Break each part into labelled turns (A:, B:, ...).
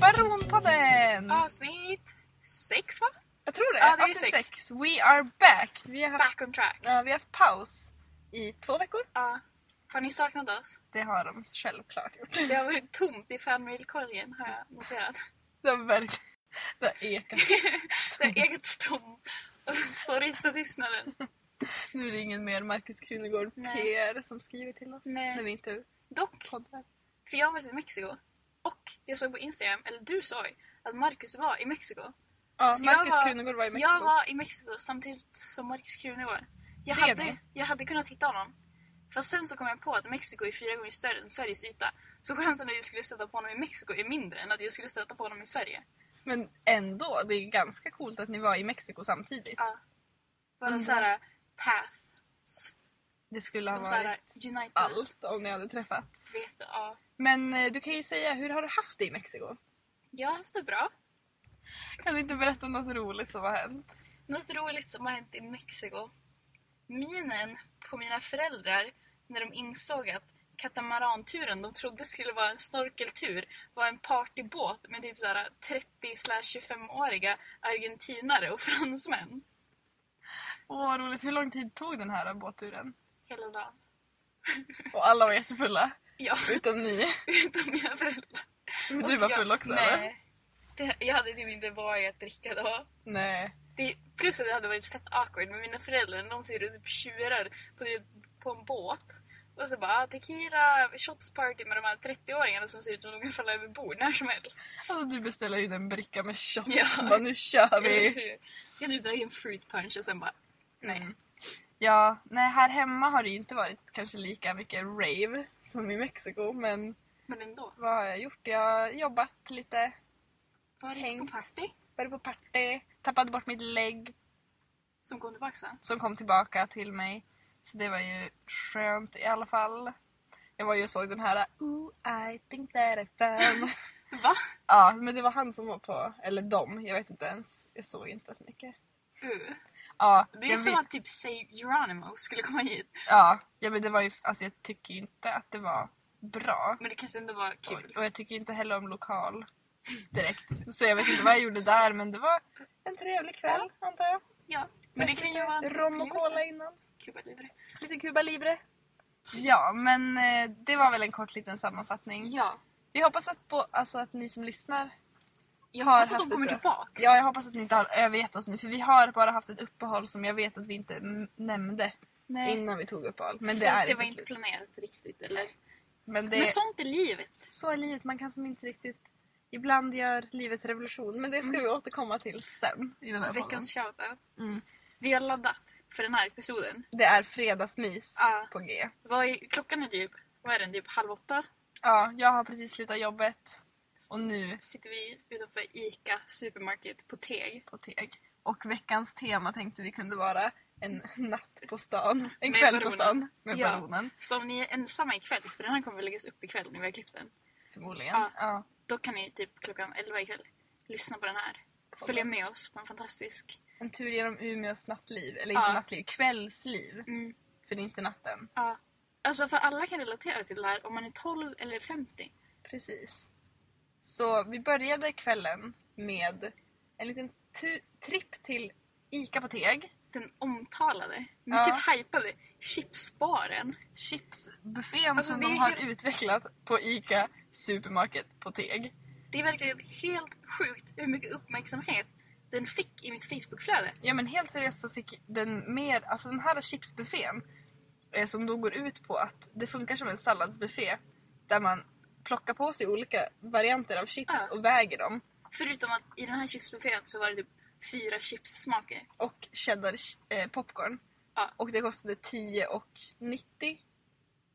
A: Baronpodden!
B: Avsnitt sex va?
A: Jag tror det.
B: Ja, det är
A: Avsnitt
B: sex.
A: sex. We are back! Vi har haft,
B: Back on track.
A: ja, vi har haft paus i två veckor.
B: Ja. Har ni saknat oss?
A: Det har de självklart gjort.
B: Det har varit tomt i fanmailkorgen har jag noterat.
A: Det har verkligen... Det har ekat.
B: Det är eget tom. Och så Sorgsna tystnaden.
A: Nu är det ingen mer Markus Krunegård
B: Nej.
A: PR som skriver till oss
B: Nej.
A: när vi inte
B: Dock,
A: poddar.
B: för jag har varit i Mexiko. Och jag såg på Instagram, eller du såg, att Marcus var i Mexiko.
A: Ja,
B: Så jag
A: Markus
B: var-
A: Krunegård var i Mexiko.
B: Jag var i Mexiko samtidigt som Marcus Krunegård. Jag
A: Det är
B: hade,
A: ni.
B: jag hade kunnat hitta honom. Fast sen så kom jag på att Mexiko är fyra gånger större än Sveriges yta. Så chansen att jag skulle stöta på honom i Mexiko är mindre än att jag skulle stöta på honom i Sverige.
A: Men ändå, det är ganska coolt att ni var i Mexiko samtidigt.
B: Ja. Var de
A: Mm.
B: såhär paths?
A: Det skulle ha
B: De
A: varit
B: såhär united?
A: allt om ni hade träffats.
B: Vet, ja.
A: Men eh, du kan ju säga, hur har du haft det i Mexiko?
B: Jag har haft det bra.
A: Kan du inte berätta något roligt som har hänt?
B: Något roligt som har hänt i Mexiko. Minen på mina föräldrar när de insåg att katamaranturen de trodde skulle vara en snorkeltur var en partybåt med typ 30-25-åriga argentinare och fransmän.
A: Åh vad roligt, hur lång tid tog den här båtturen?
B: Hela dagen.
A: Och alla var jättefulla,
B: Ja,
A: utom ni.
B: utom mina föräldrar.
A: Men
B: Och
A: du var
B: jag-
A: full också eller?
B: Nej. Det, jag hade typ inte vågat dricka då.
A: Nej.
B: Det, plus att det hade varit fett awkward med mina föräldrar. De ser ut typ tjurar på, på en båt. Och så bara "Ah, tequila, shots party med de här 30-åringarna som ser ut som de kan falla över bord när som helst.
A: Alltså du beställer ju en bricka med shots
B: Ja.
A: bara, nu kör vi!
B: Jag typ drack en fruit punch och sen bara nej.
A: Mm. Ja, nej här hemma har det ju inte varit kanske lika mycket rave som i Mexiko men
B: Men ändå.
A: vad har jag gjort? Jag har jobbat lite,
B: Var det på
A: Hängt.
B: party
A: varit på party, tappat bort mitt lägg
B: som kom tillbaka sen?
A: som kom tillbaka till mig. Så det var ju skönt i alla fall. Jag var ju och såg den här Ooh, I think that I found
B: Va?
A: Ja, men det var han som var på, eller dem, jag vet inte ens. Jag såg inte så mycket.
B: Uh.
A: Ja,
B: Det är
A: jag
B: som
A: vet-
B: att typ Save Geronimo skulle komma hit.
A: ja, ja men det var ju, alltså jag tycker ju inte att det var bra.
B: Men det kanske ändå var kul.
A: Och jag tycker ju inte heller om lokal direkt. Så jag vet inte vad jag gjorde där men det var en trevlig kväll antar jag.
B: Ja. Men det
A: Drack
B: kan ju
A: lite
B: vara en
A: Rom och
B: upplevelse.
A: cola innan.
B: Cuba Libre.
A: Lite Cuba Libre. Ja, men eh, det var väl en kort liten sammanfattning.
B: Ja.
A: Vi hoppas att, på, alltså, att ni som lyssnar
B: Jag
A: Har
B: hoppas att
A: haft
B: de
A: det
B: kommer
A: bra.
B: tillbaka.
A: Ja, jag hoppas att ni inte har övergett oss nu för vi har bara haft ett uppehåll som jag vet att vi inte n- nämnde
B: Nej.
A: innan vi tog uppehåll. Men det
B: För att
A: är
B: det
A: inte
B: var
A: slut.
B: inte planerat riktigt eller?
A: Men det
B: Men sånt är livet.
A: så är livet, man kan som inte riktigt... Ibland gör livet revolution men det ska vi återkomma till sen i den här
B: Mm. Veckans shoutout.
A: podden. Mm.
B: Vi har laddat för den här episoden.
A: Det är fredagsmys
B: Ja.
A: på G.
B: Vad är, klockan är typ, vad är den, typ halv åtta?
A: Ja, jag har precis slutat jobbet och nu
B: Sitter vi utanför ICA Supermarket på Teg.
A: på Teg. Och veckans tema tänkte vi kunde vara en natt på stan, en
B: Med
A: kväll på
B: Baronen.
A: stan med
B: Ja.
A: Baronen
B: Så om ni är ensamma ikväll, för den här kommer väl läggas upp ikväll när vi har klippt den.
A: förmodligen.
B: Ja.
A: Ja.
B: Då kan ni typ klockan 11 ikväll lyssna på den här. Följa med oss på en fantastisk...
A: En tur genom Umeås nattliv, eller
B: Ja.
A: inte nattliv, kvällsliv.
B: Mm,
A: För det är inte natten.
B: ja. Alltså för alla kan relatera till det här om man är 12 eller 50.
A: Precis. Så vi började kvällen med en liten tu- tripp till Ica på Teg,
B: Den omtalade,
A: Ja.
B: mycket hypade chipsbaren.
A: chipsbuffén
B: Alltså,
A: som
B: det
A: de
B: är
A: har
B: helt-
A: utvecklat på Ica Supermarket på Teg.
B: Det är verkligen helt sjukt hur mycket uppmärksamhet den fick i mitt Facebookflöde.
A: Ja men helt seriöst så fick den mer, alltså den här chipsbuffén eh, som då går ut på att det funkar som en salladsbuffé där man plockar på sig olika varianter av chips
B: Ja.
A: och väger dem.
B: Förutom att i den här chipsbuffén så var det typ fyra chipssmaker.
A: och cheddar eh, popcorn.
B: Ja.
A: Och det kostade 10 och 90.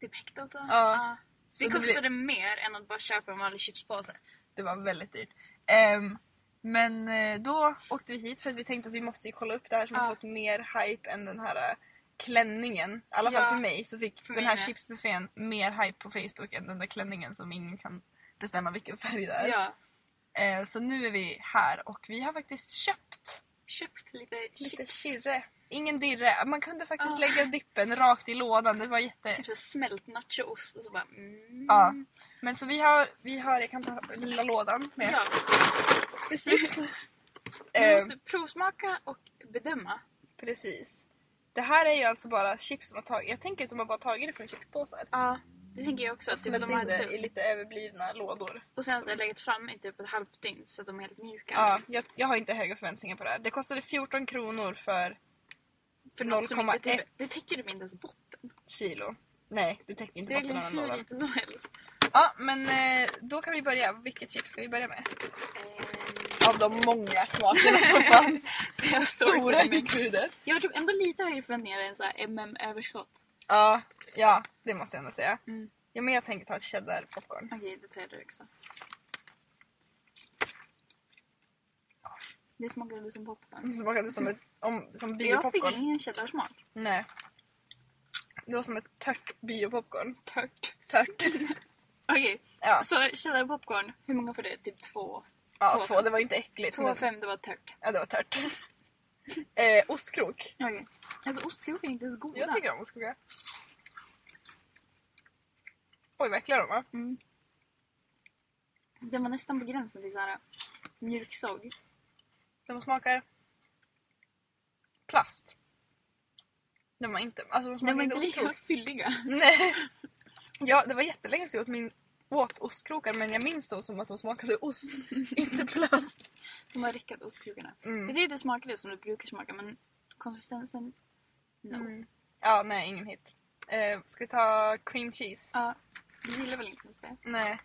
B: Typ hektot och...
A: Ja. Så
B: Det
A: det,
B: kostade
A: blev,
B: mer än att bara köpa en vanlig chipspåse.
A: det var väldigt dyrt. Ehm, men eh, då åkte vi hit för att vi tänkte att vi måste ju kolla upp det här som
B: Ja.
A: har fått mer hype än den här eh, klänningen. I alla fall
B: Ja,
A: för mig så fick den
B: för mig
A: här
B: med.
A: chipsbuffén mer hype på Facebook än den där klänningen som ingen kan bestämma vilken färg det är.
B: Ja.
A: Eh, så nu är vi här och vi har faktiskt köpt
B: Köpt lite,
A: lite
B: chips.
A: kirre. Ingen dirre. Man kunde faktiskt
B: Ah.
A: lägga dippen rakt i lådan. Det var jätte...
B: Typ så här smält nachoost och så bara mm.
A: Ja. Men så vi har, vi har, jag kan ta lilla lådan med
B: Ja,
A: chips.
B: du
A: Eh,
B: måste provsmaka och bedöma.
A: Precis. Det här är ju alltså bara chips som har tagit, jag tänker att de har bara tagit det från chipspåsar.
B: Ja. Det tänker jag också. Att typ,
A: Smält
B: de
A: in
B: hade,
A: det i lite överblivna lådor.
B: och sen att det har legat fram i typ ett halvt dygn så att de är helt mjuka.
A: Ja, jag, jag har inte höga förväntningar på det här. Det kostade 14 kronor för
B: För något som inte
A: 0,1.
B: typ, det täcker typ inte ens botten.
A: kilo. Nej, det täcker inte
B: Det är
A: botten av den
B: hur
A: lådan.
B: lite som helst.
A: Ja, men eh, då kan vi börja. Vilket chips ska vi börja med?
B: Ehm,
A: Av de många smakerna som fanns.
B: jag såg
A: Stora
B: det mix.
A: utbudet.
B: Jag har typ ändå lite högre förväntningar än så här MM-överskott.
A: Ja, ja, det måste jag ändå säga.
B: Mm.
A: Ja, men jag tänker ta ett cheddar popcorn.
B: Okej, det tar jag det också. Det smakade lite som popcorn.
A: Det smakade som, ett, om, som
B: Jag fick
A: biopopcorn.
B: ingen cheddarsmak.
A: Nej. Det var som ett tört biopopcorn.
B: Tört.
A: Tört.
B: Okej,
A: Ja,
B: så cheddarpopcorn, hur många får det? Typ två?
A: ja
B: Två.
A: två. Det var ju inte äckligt.
B: Två
A: men-
B: av fem, det var tört.
A: Ja, det var tört. eh, ostkrok.
B: Okej. Alltså ostkrokar är inte ens goda.
A: Jag tycker om ostkroka. Oj, vad äckliga de var.
B: Mm. Den var nästan på gränsen till såhär mjuksåg.
A: De smakar plast. De var inte... Alltså de
B: Den
A: smakar
B: var
A: inte
B: inte lika
A: ostkrok.
B: fylliga.
A: Nej. Ja, det var jättelänge sedan jag åt, min, åt ostkrokar men jag minns dem som att de smakade ost, inte plast.
B: De har räckat ostkrokarna.
A: Mm.
B: Det är det det smakade som det brukar smaka men konsistensen... No.
A: Mm. Ja, nej, ingen hit. Eh, ska vi ta cream cheese?
B: Ja, du gillar väl inte ens det?
A: Nej.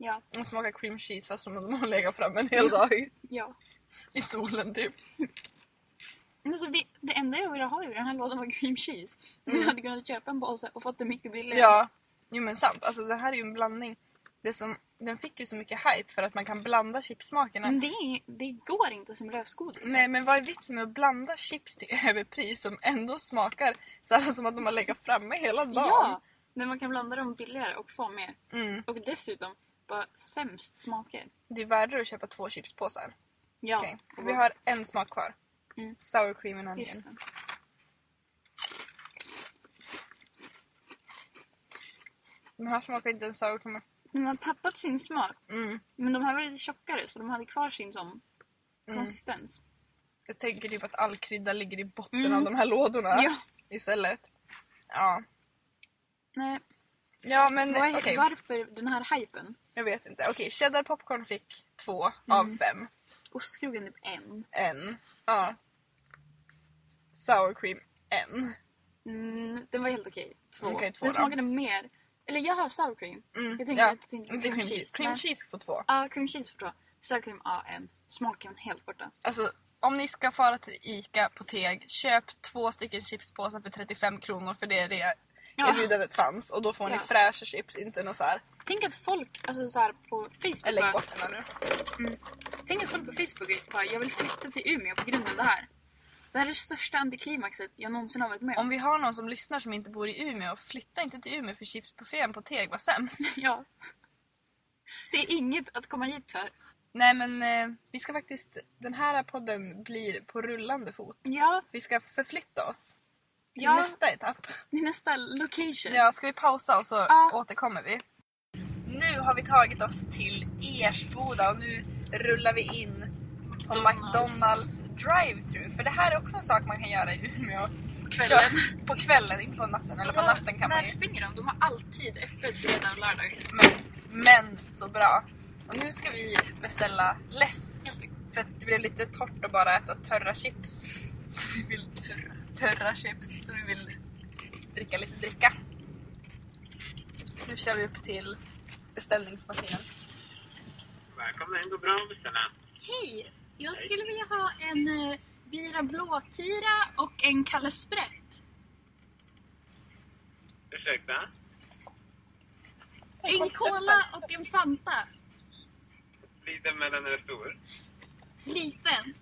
B: Ja.
A: De smakar cream cheese fast som om de har legat framme en hel dag
B: Ja.
A: i solen typ.
B: Men Alltså, vi, det enda jag ville ha i den här lådan var cream cheese. Men jag hade kunnat köpa en påse och fått den mycket billigare.
A: Mm. Ja, jo men sant. Alltså det här är ju en blandning. Det som, den fick ju så mycket hype för att man kan blanda chipssmakerna.
B: Men det, är- det går inte som lösgodis.
A: Nej men vad är vitsen med att blanda chips till överpris som ändå smakar så här som att de har legat framme hela dagen?
B: Ja! När man kan blanda dem billigare och få mer.
A: Mm.
B: Och dessutom bara sämst smaker.
A: Det är värdare att köpa två chipspåsar.
B: Ja.
A: Okej. Vi har en smak kvar.
B: Mm.
A: Sour cream and onion.
B: Just det.
A: De här smakar inte ens sour cream.
B: Den har tappat sin smak.
A: Mm.
B: Men de här var lite tjockare så de hade kvar sin som
A: Mm.
B: konsistens.
A: Jag tänker typ att all krydda ligger i botten
B: Mm.
A: av de här lådorna
B: Ja.
A: istället. Ja.
B: Nej,
A: Ja men
B: vad är,
A: okej,
B: Varför den här hypen?
A: jag vet inte. Okej, cheddar popcorn fick två av
B: Mm.
A: fem.
B: Ostkrogen typ en.
A: En. Ja. Sour cream en.
B: Mm, den var helt okej. Två.
A: Okej, två
B: den
A: då.
B: smakade mer. Eller jag har sour cream.
A: Mm.
B: Jag tänker
A: ja.
B: att jag tänkte
A: Inte cream cheese. Cream
B: nej.
A: cheese får två.
B: Ja, cream cheese förstår jag. Sour cream, ja en. Smaken helt borta.
A: Alltså om ni ska fara till ICA på Teg, köp två stycken chipspåsar för 35 kronor för det är det
B: Ja.
A: erbjudandet fanns och då får ni
B: Ja.
A: fräscha chips, inte något så här.
B: Tänk att folk alltså så här på Facebook
A: Jag lägger
B: bara,
A: bort den här nu.
B: Tänk att folk på Facebook bara, jag vill flytta till Umeå på grund av det här. Det här är det största antiklimaxet jag någonsin har varit med om.
A: Om vi har någon som lyssnar som inte bor i Umeå, flytta inte till Umeå för chipsbuffén på Teg var sämst.
B: Ja. Det är inget att komma hit för.
A: Nej men eh, vi ska faktiskt, den här podden blir på rullande fot.
B: Ja,
A: Vi ska förflytta oss till
B: Ja.
A: nästa etapp.
B: det är nästa location.
A: Ja, ska vi pausa och så
B: Ja.
A: återkommer vi? Nu har vi tagit oss till Ersboda och nu rullar vi in på McDonalds drive-thru. För det här är också en sak man kan göra i Umeå.
B: Kvällen.
A: Kör- På kvällen, inte på natten. Eller på natten kan
B: När
A: man ju.
B: stänger de? De har alltid öppet fredag och lördag.
A: Men, men så bra. Och nu ska vi beställa läsk. För att det blev lite torrt att bara äta törra chips. Så vi vill törra chips. Så vi vill dricka lite dricka. Nu kör vi upp till beställningsmaskinen.
C: Välkomna in, god bra att beställa.
B: Hej! Jag skulle vilja ha en eh, Bira Blåtira och en Kalle Sprätt.
C: Ursäkta?
B: En Cola och en Fanta.
C: Liten mellan eller stor?
B: Liten.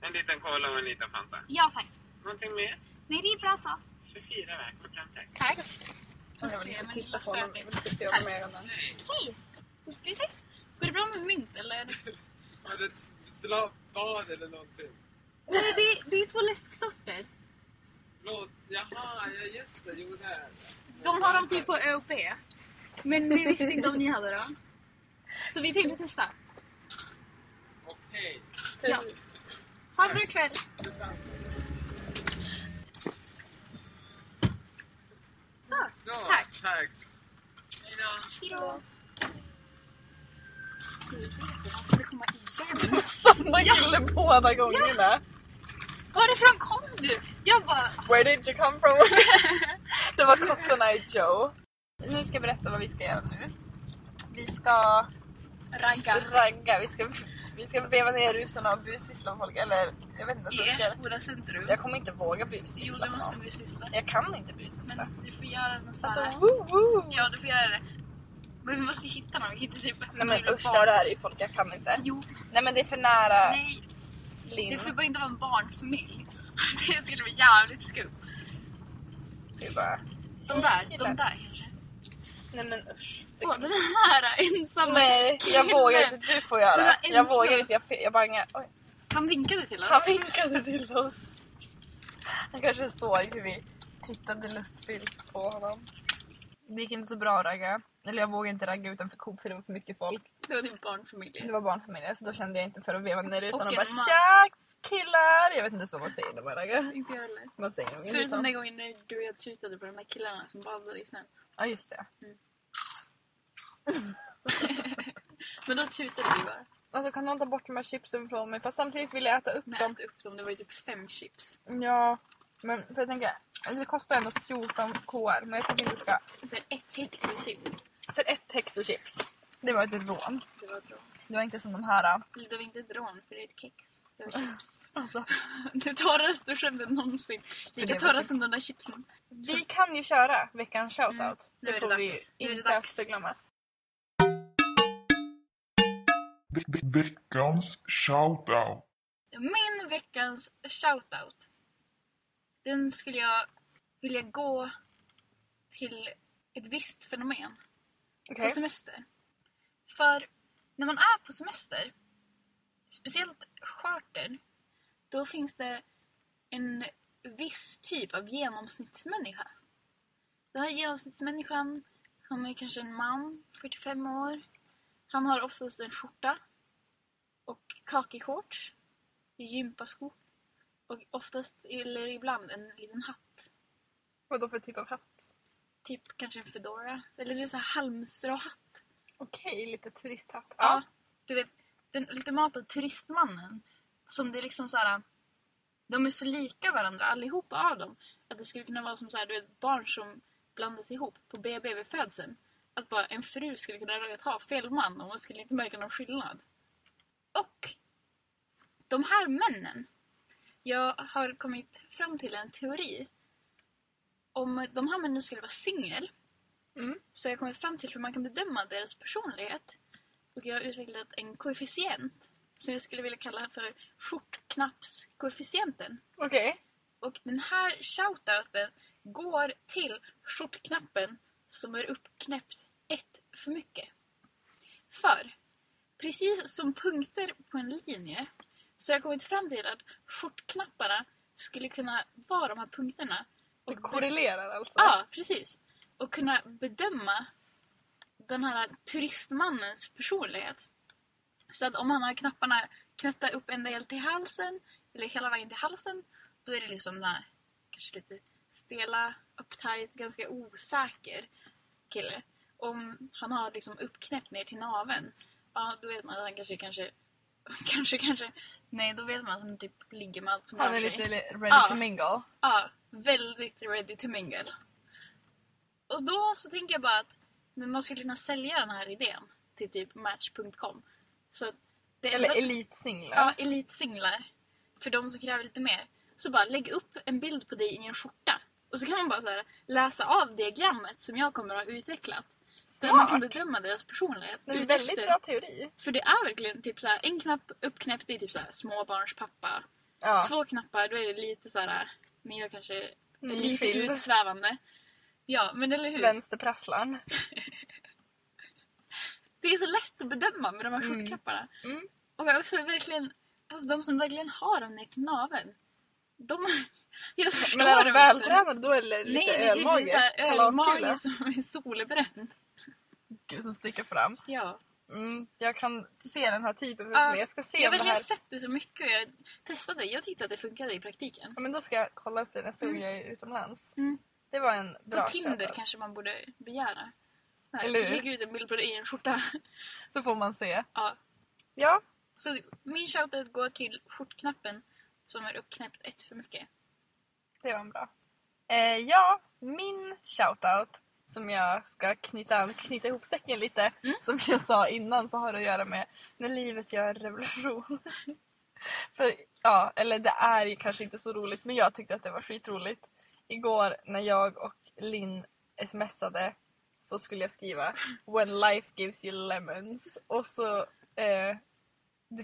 C: En liten cola och en liten Fanta.
B: Ja tack.
C: Någonting mer?
B: Nej, det är bra så.
C: 24 veckor fram till.
B: Tack.
A: Jag vill inte titta på honom, jag vill inte se honom i ögonen.
B: Hej! Då ska vi se. Går det bra med mynt eller?
D: Var det ett slavbad eller någonting?
B: Nej, det, är- det är två läsksorter.
D: Blod. Jaha, ja just det. Jo det är det.
B: De har dem typ på Ö och B. Men vi visste inte om ni hade dem. Så vi tänkte testa.
D: Okej.
B: Ja. Ha en bra kväll! Så,
D: Så,
B: tack!
D: tack. Hejdå.
B: Hejdå! Han skulle komma igen.
A: Samma kille båda gångerna.
B: Varifrån kom du? Jag bara...
A: Where did you come from? det var Cotton Eye Joe. Nu ska jag berätta vad vi ska göra nu. Vi ska
B: Ragga.
A: ragga. Vi ska, vi ska veva ner rutorna och busvissla på folk. Eller jag vet inte. Så
B: I
A: ska, jag-
B: Ersboda centrum.
A: jag kommer inte våga
B: Jo,
A: busvissla
B: du
A: på
B: måste
A: någon.
B: bli syssla.
A: Jag kan inte busvissla.
B: Men du får göra något sånt
A: Alltså woo woo!
B: Ja, du får göra det. Men vi måste hitta någon. Vi kan inte typ...
A: Nej men usch, där är ju folk. Jag kan inte.
B: Jo,
A: Nej men det är för nära
B: nej.
A: Linn.
B: Det får bara inte vara en barnfamilj. Det skulle bli jävligt skumt.
A: Så vi bara...
B: De där,
A: Killar.
B: de där kanske.
A: Nej men usch. Det
B: Åh, den här ensamma
A: Nej, jag vågar inte. Du får göra
B: Den
A: det.
B: här
A: Jag
B: ensam.
A: vågar inte. Jag, jag bangar. Oj.
B: Han vinkade till oss.
A: Han vinkade till oss. Han kanske såg hur vi tittade lustfyllt på honom. Det gick inte så bra att ragga. Eller jag vågade inte ragga utanför Coop för det var för mycket folk.
B: Det var din
A: Det
B: barnfamilj.
A: var barnfamiljer så då kände jag inte för att veva ner utan
B: Och
A: och
B: en
A: bara
B: man.
A: tjax killar! Jag vet inte ens vad man säger när man raggar.
B: Inte jag heller.
A: Man säger liksom. nog inte
B: Förutom
A: sånt.
B: den gången när du och jag tutade på de här killarna som badade i snön.
A: Ja just det.
B: Men då tutade vi bara.
A: Alltså kan någon ta bort de här chipsen från mig? Fast samtidigt vill jag äta upp
B: Men
A: dem.
B: äta upp dem. Det var ju typ fem chips.
A: Ja. Men för jag tänker, alltså, det kostar ändå 14 kr men jag tycker inte det ska.
B: Sen Alltså, ett hekto chips.
A: För ett hexochips. Det var ett rån.
B: Det var bra.
A: Det var inte som de här äh,
B: Eller det var inte drån, för det är ett kex. Det var chips.
A: Alltså,
B: Det torraste skämtet någonsin.
A: det
B: Lika
A: var
B: torra
A: chips.
B: som de där chipsen.
A: vi kan ju köra veckans shoutout.
B: Mm,
A: det
B: nu är det
A: får vi
B: dags. Nu är det
A: inte
B: dags.
A: efterglömma.
E: Ve- ve- Veckans shoutout.
B: Min veckans shoutout. Den skulle jag vilja gå till ett visst fenomen.
A: Okej.
B: På semester. För när man är på semester, speciellt charter, då finns det en viss typ av genomsnittsmänniska. Den här genomsnittsmänniskan, han är kanske en man, 45 år. Han har oftast en skjorta och kakishorts, gympaskor och oftast, eller ibland, en liten hatt.
A: Vadå för typ av hatt?
B: Typ kanske en fedora, eller det är så här halmstråhatt.
A: Okej, lite turisthatt.
B: Ja. Du vet, den ultimata turistmannen. Som det är liksom så här. De är så lika varandra allihopa av dem. Att det skulle kunna vara som så här, du vet, barn som blandas ihop på BB vid födseln. Att bara en fru skulle kunna råkat ha fel man och man skulle inte märka någon skillnad. Och de här männen. Jag har kommit fram till en teori. Om de här männen skulle vara singel.
A: Mm.
B: Så jag har kommit fram till hur man kan bedöma deras personlighet. Och jag har utvecklat en koefficient som jag skulle vilja kalla för skjortknappskoefficienten.
A: Okej.
B: Och den här shoutouten går till skjortknappen som är uppknäppt ett för mycket. För, precis som punkter på en linje, så har jag kommit fram till att skjortknapparna skulle kunna vara de här punkterna.
A: Det korrelerar alltså?
B: Ja, precis. Och kunna bedöma den här turistmannens personlighet. Så att om han har knapparna knäppta upp en del till halsen, eller hela vägen till halsen, då är det liksom den här kanske lite stela, uptight, ganska osäker kille. Om han har liksom uppknäppt ner till naveln, ja då vet man att han kanske, kanske, kanske, kanske, nej då vet man att han typ ligger med allt som
A: Han
B: rör
A: är
B: sig.
A: lite ready
B: Ja.
A: to mingle.
B: Ja, väldigt ready to mingle. Och då så tänker jag bara att men man skulle kunna sälja den här idén till typ Match.com. Så det
A: Eller
B: enda-
A: elitsinglar.
B: ja, elitsinglar. För de som kräver lite mer. Så bara lägg upp en bild på dig i en skjorta. Och så kan man bara så här, läsa av diagrammet som jag kommer att ha utvecklat. Så att man kan
A: Smart.
B: bedöma deras personlighet.
A: Det är en
B: utefter-
A: väldigt bra teori.
B: För det är verkligen typ så här, en knapp uppknäppt, det är typ så här, småbarns pappa.
A: Ja.
B: Två knappar, då är det lite så här, men jag kanske
A: Mm.
B: lite
A: Nyskild.
B: utsvävande. Ja, men eller hur?
A: Vänsterprasslan.
B: Det är så lätt att bedöma med de här skjortknapparna.
A: Mm.
B: Och också verkligen, alltså de som verkligen har dem ner till naveln. De, jag förstår
A: Men är de
B: dem
A: vältränade då eller
B: Nej,
A: lite
B: det, det blir
A: ölmage?
B: såhär
A: Kalaskula?
B: ölmage som är solbränd.
A: Gud, Som sticker fram.
B: Ja.
A: Mm, jag kan se den här typen för
B: Ja,
A: mig. Jag ska se
B: Jag,
A: om
B: vet,
A: det
B: jag
A: här...
B: har sett det så mycket och jag testade. Jag tyckte att det funkade i praktiken.
A: Ja, men då ska jag kolla upp det nästa gång jag är utomlands.
B: Mm.
A: Det var en bra
B: På Tinder
A: köpa.
B: kanske man borde begära. Nej,
A: Eller hur?
B: Lägg ut en bild på dig i en skjorta.
A: Så får man se.
B: Ja.
A: Ja,
B: Så min shoutout går till skjortknappen som är uppknäppt ett för mycket.
A: det var en bra. Eh, ja, min shoutout som jag ska knyta, an, knyta ihop säcken lite. Som jag sa innan så har det att göra med när livet gör revolution. För, ja, eller det är ju kanske inte så roligt men jag tyckte att det var skitroligt. Igår när jag och Linn smsade så skulle jag skriva When life gives you lemons och så eh,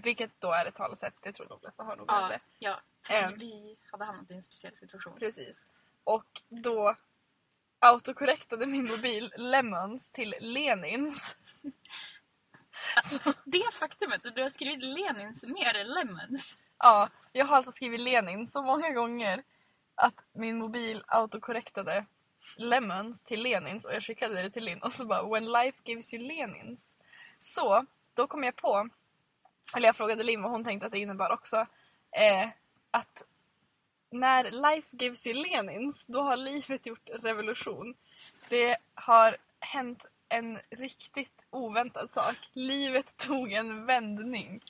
A: vilket då är ett talesätt, det tror jag de flesta har nog med det.
B: Ja, ja. För
A: Ehm.
B: vi hade hamnat i en speciell situation.
A: Precis. Och då autokorrektade min mobil Lemons till Lenins.
B: Det faktumet att du har skrivit Lenins mer än Lemons.
A: Ja, jag har alltså skrivit Lenin så många gånger att min mobil autokorrektade Lemons till Lenins och jag skickade det till Linn och så bara When life gives you Lenins. Så, då kom jag på, eller jag frågade Linn vad hon tänkte att det innebar också, eh, att när life gives you Lenins, då har livet gjort revolution. Det har hänt en riktigt oväntad sak. Livet tog en vändning.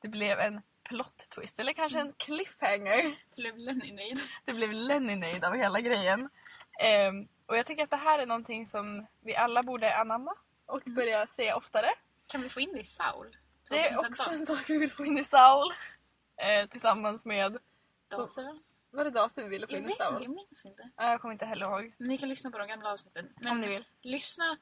A: Det blev en plot twist, eller kanske en cliffhanger.
B: Till blev Leninade.
A: Det blev Leninade av hela grejen. Ehm, och jag tycker att det här är någonting som vi alla borde anamma och
B: Mm.
A: börja se oftare.
B: Kan vi få in det i Saul?
A: Det är
B: 2015?
A: också en sak vi vill få in i Saul. Eh, tillsammans med...
B: Daser?
A: Var det Dasen vi ville få
B: Jag
A: in i
B: vet
A: Saul?
B: inte, jag minns inte.
A: Ja, jag kommer inte heller ihåg.
B: Ni kan lyssna på de gamla avsnitten. Men
A: Om ni vill.
B: lyssna...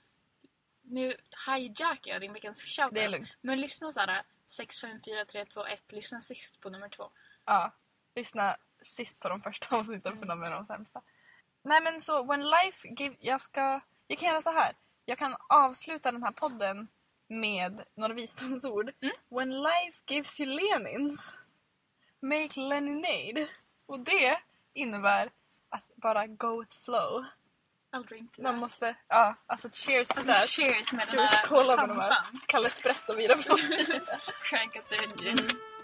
B: Nu hijackar jag din veckans shoutout.
A: Det är lugnt.
B: Men lyssna såhär 6, 5, 4, 3, 2, 1. Lyssna sist på nummer två.
A: Ja, lyssna sist på de första avsnitten för
B: Mm.
A: de är de sämsta. Nej men så When Life Give... Jag ska... Jag kan göra så här. Jag kan avsluta den här podden med några visdomsord.
B: Mm.
A: When life gives you Lenins, make Leninade. Och det innebär att bara go with flow.
B: I'll drink to
A: Man
B: that.
A: måste... Ja, alltså cheers till
B: Alltså,
A: det.
B: cheers med
A: Ska
B: den
A: vi
B: här
A: skåla med de här?
B: fampan.
A: Kalle sprätt och vira på oss.
B: Crankat vid mm.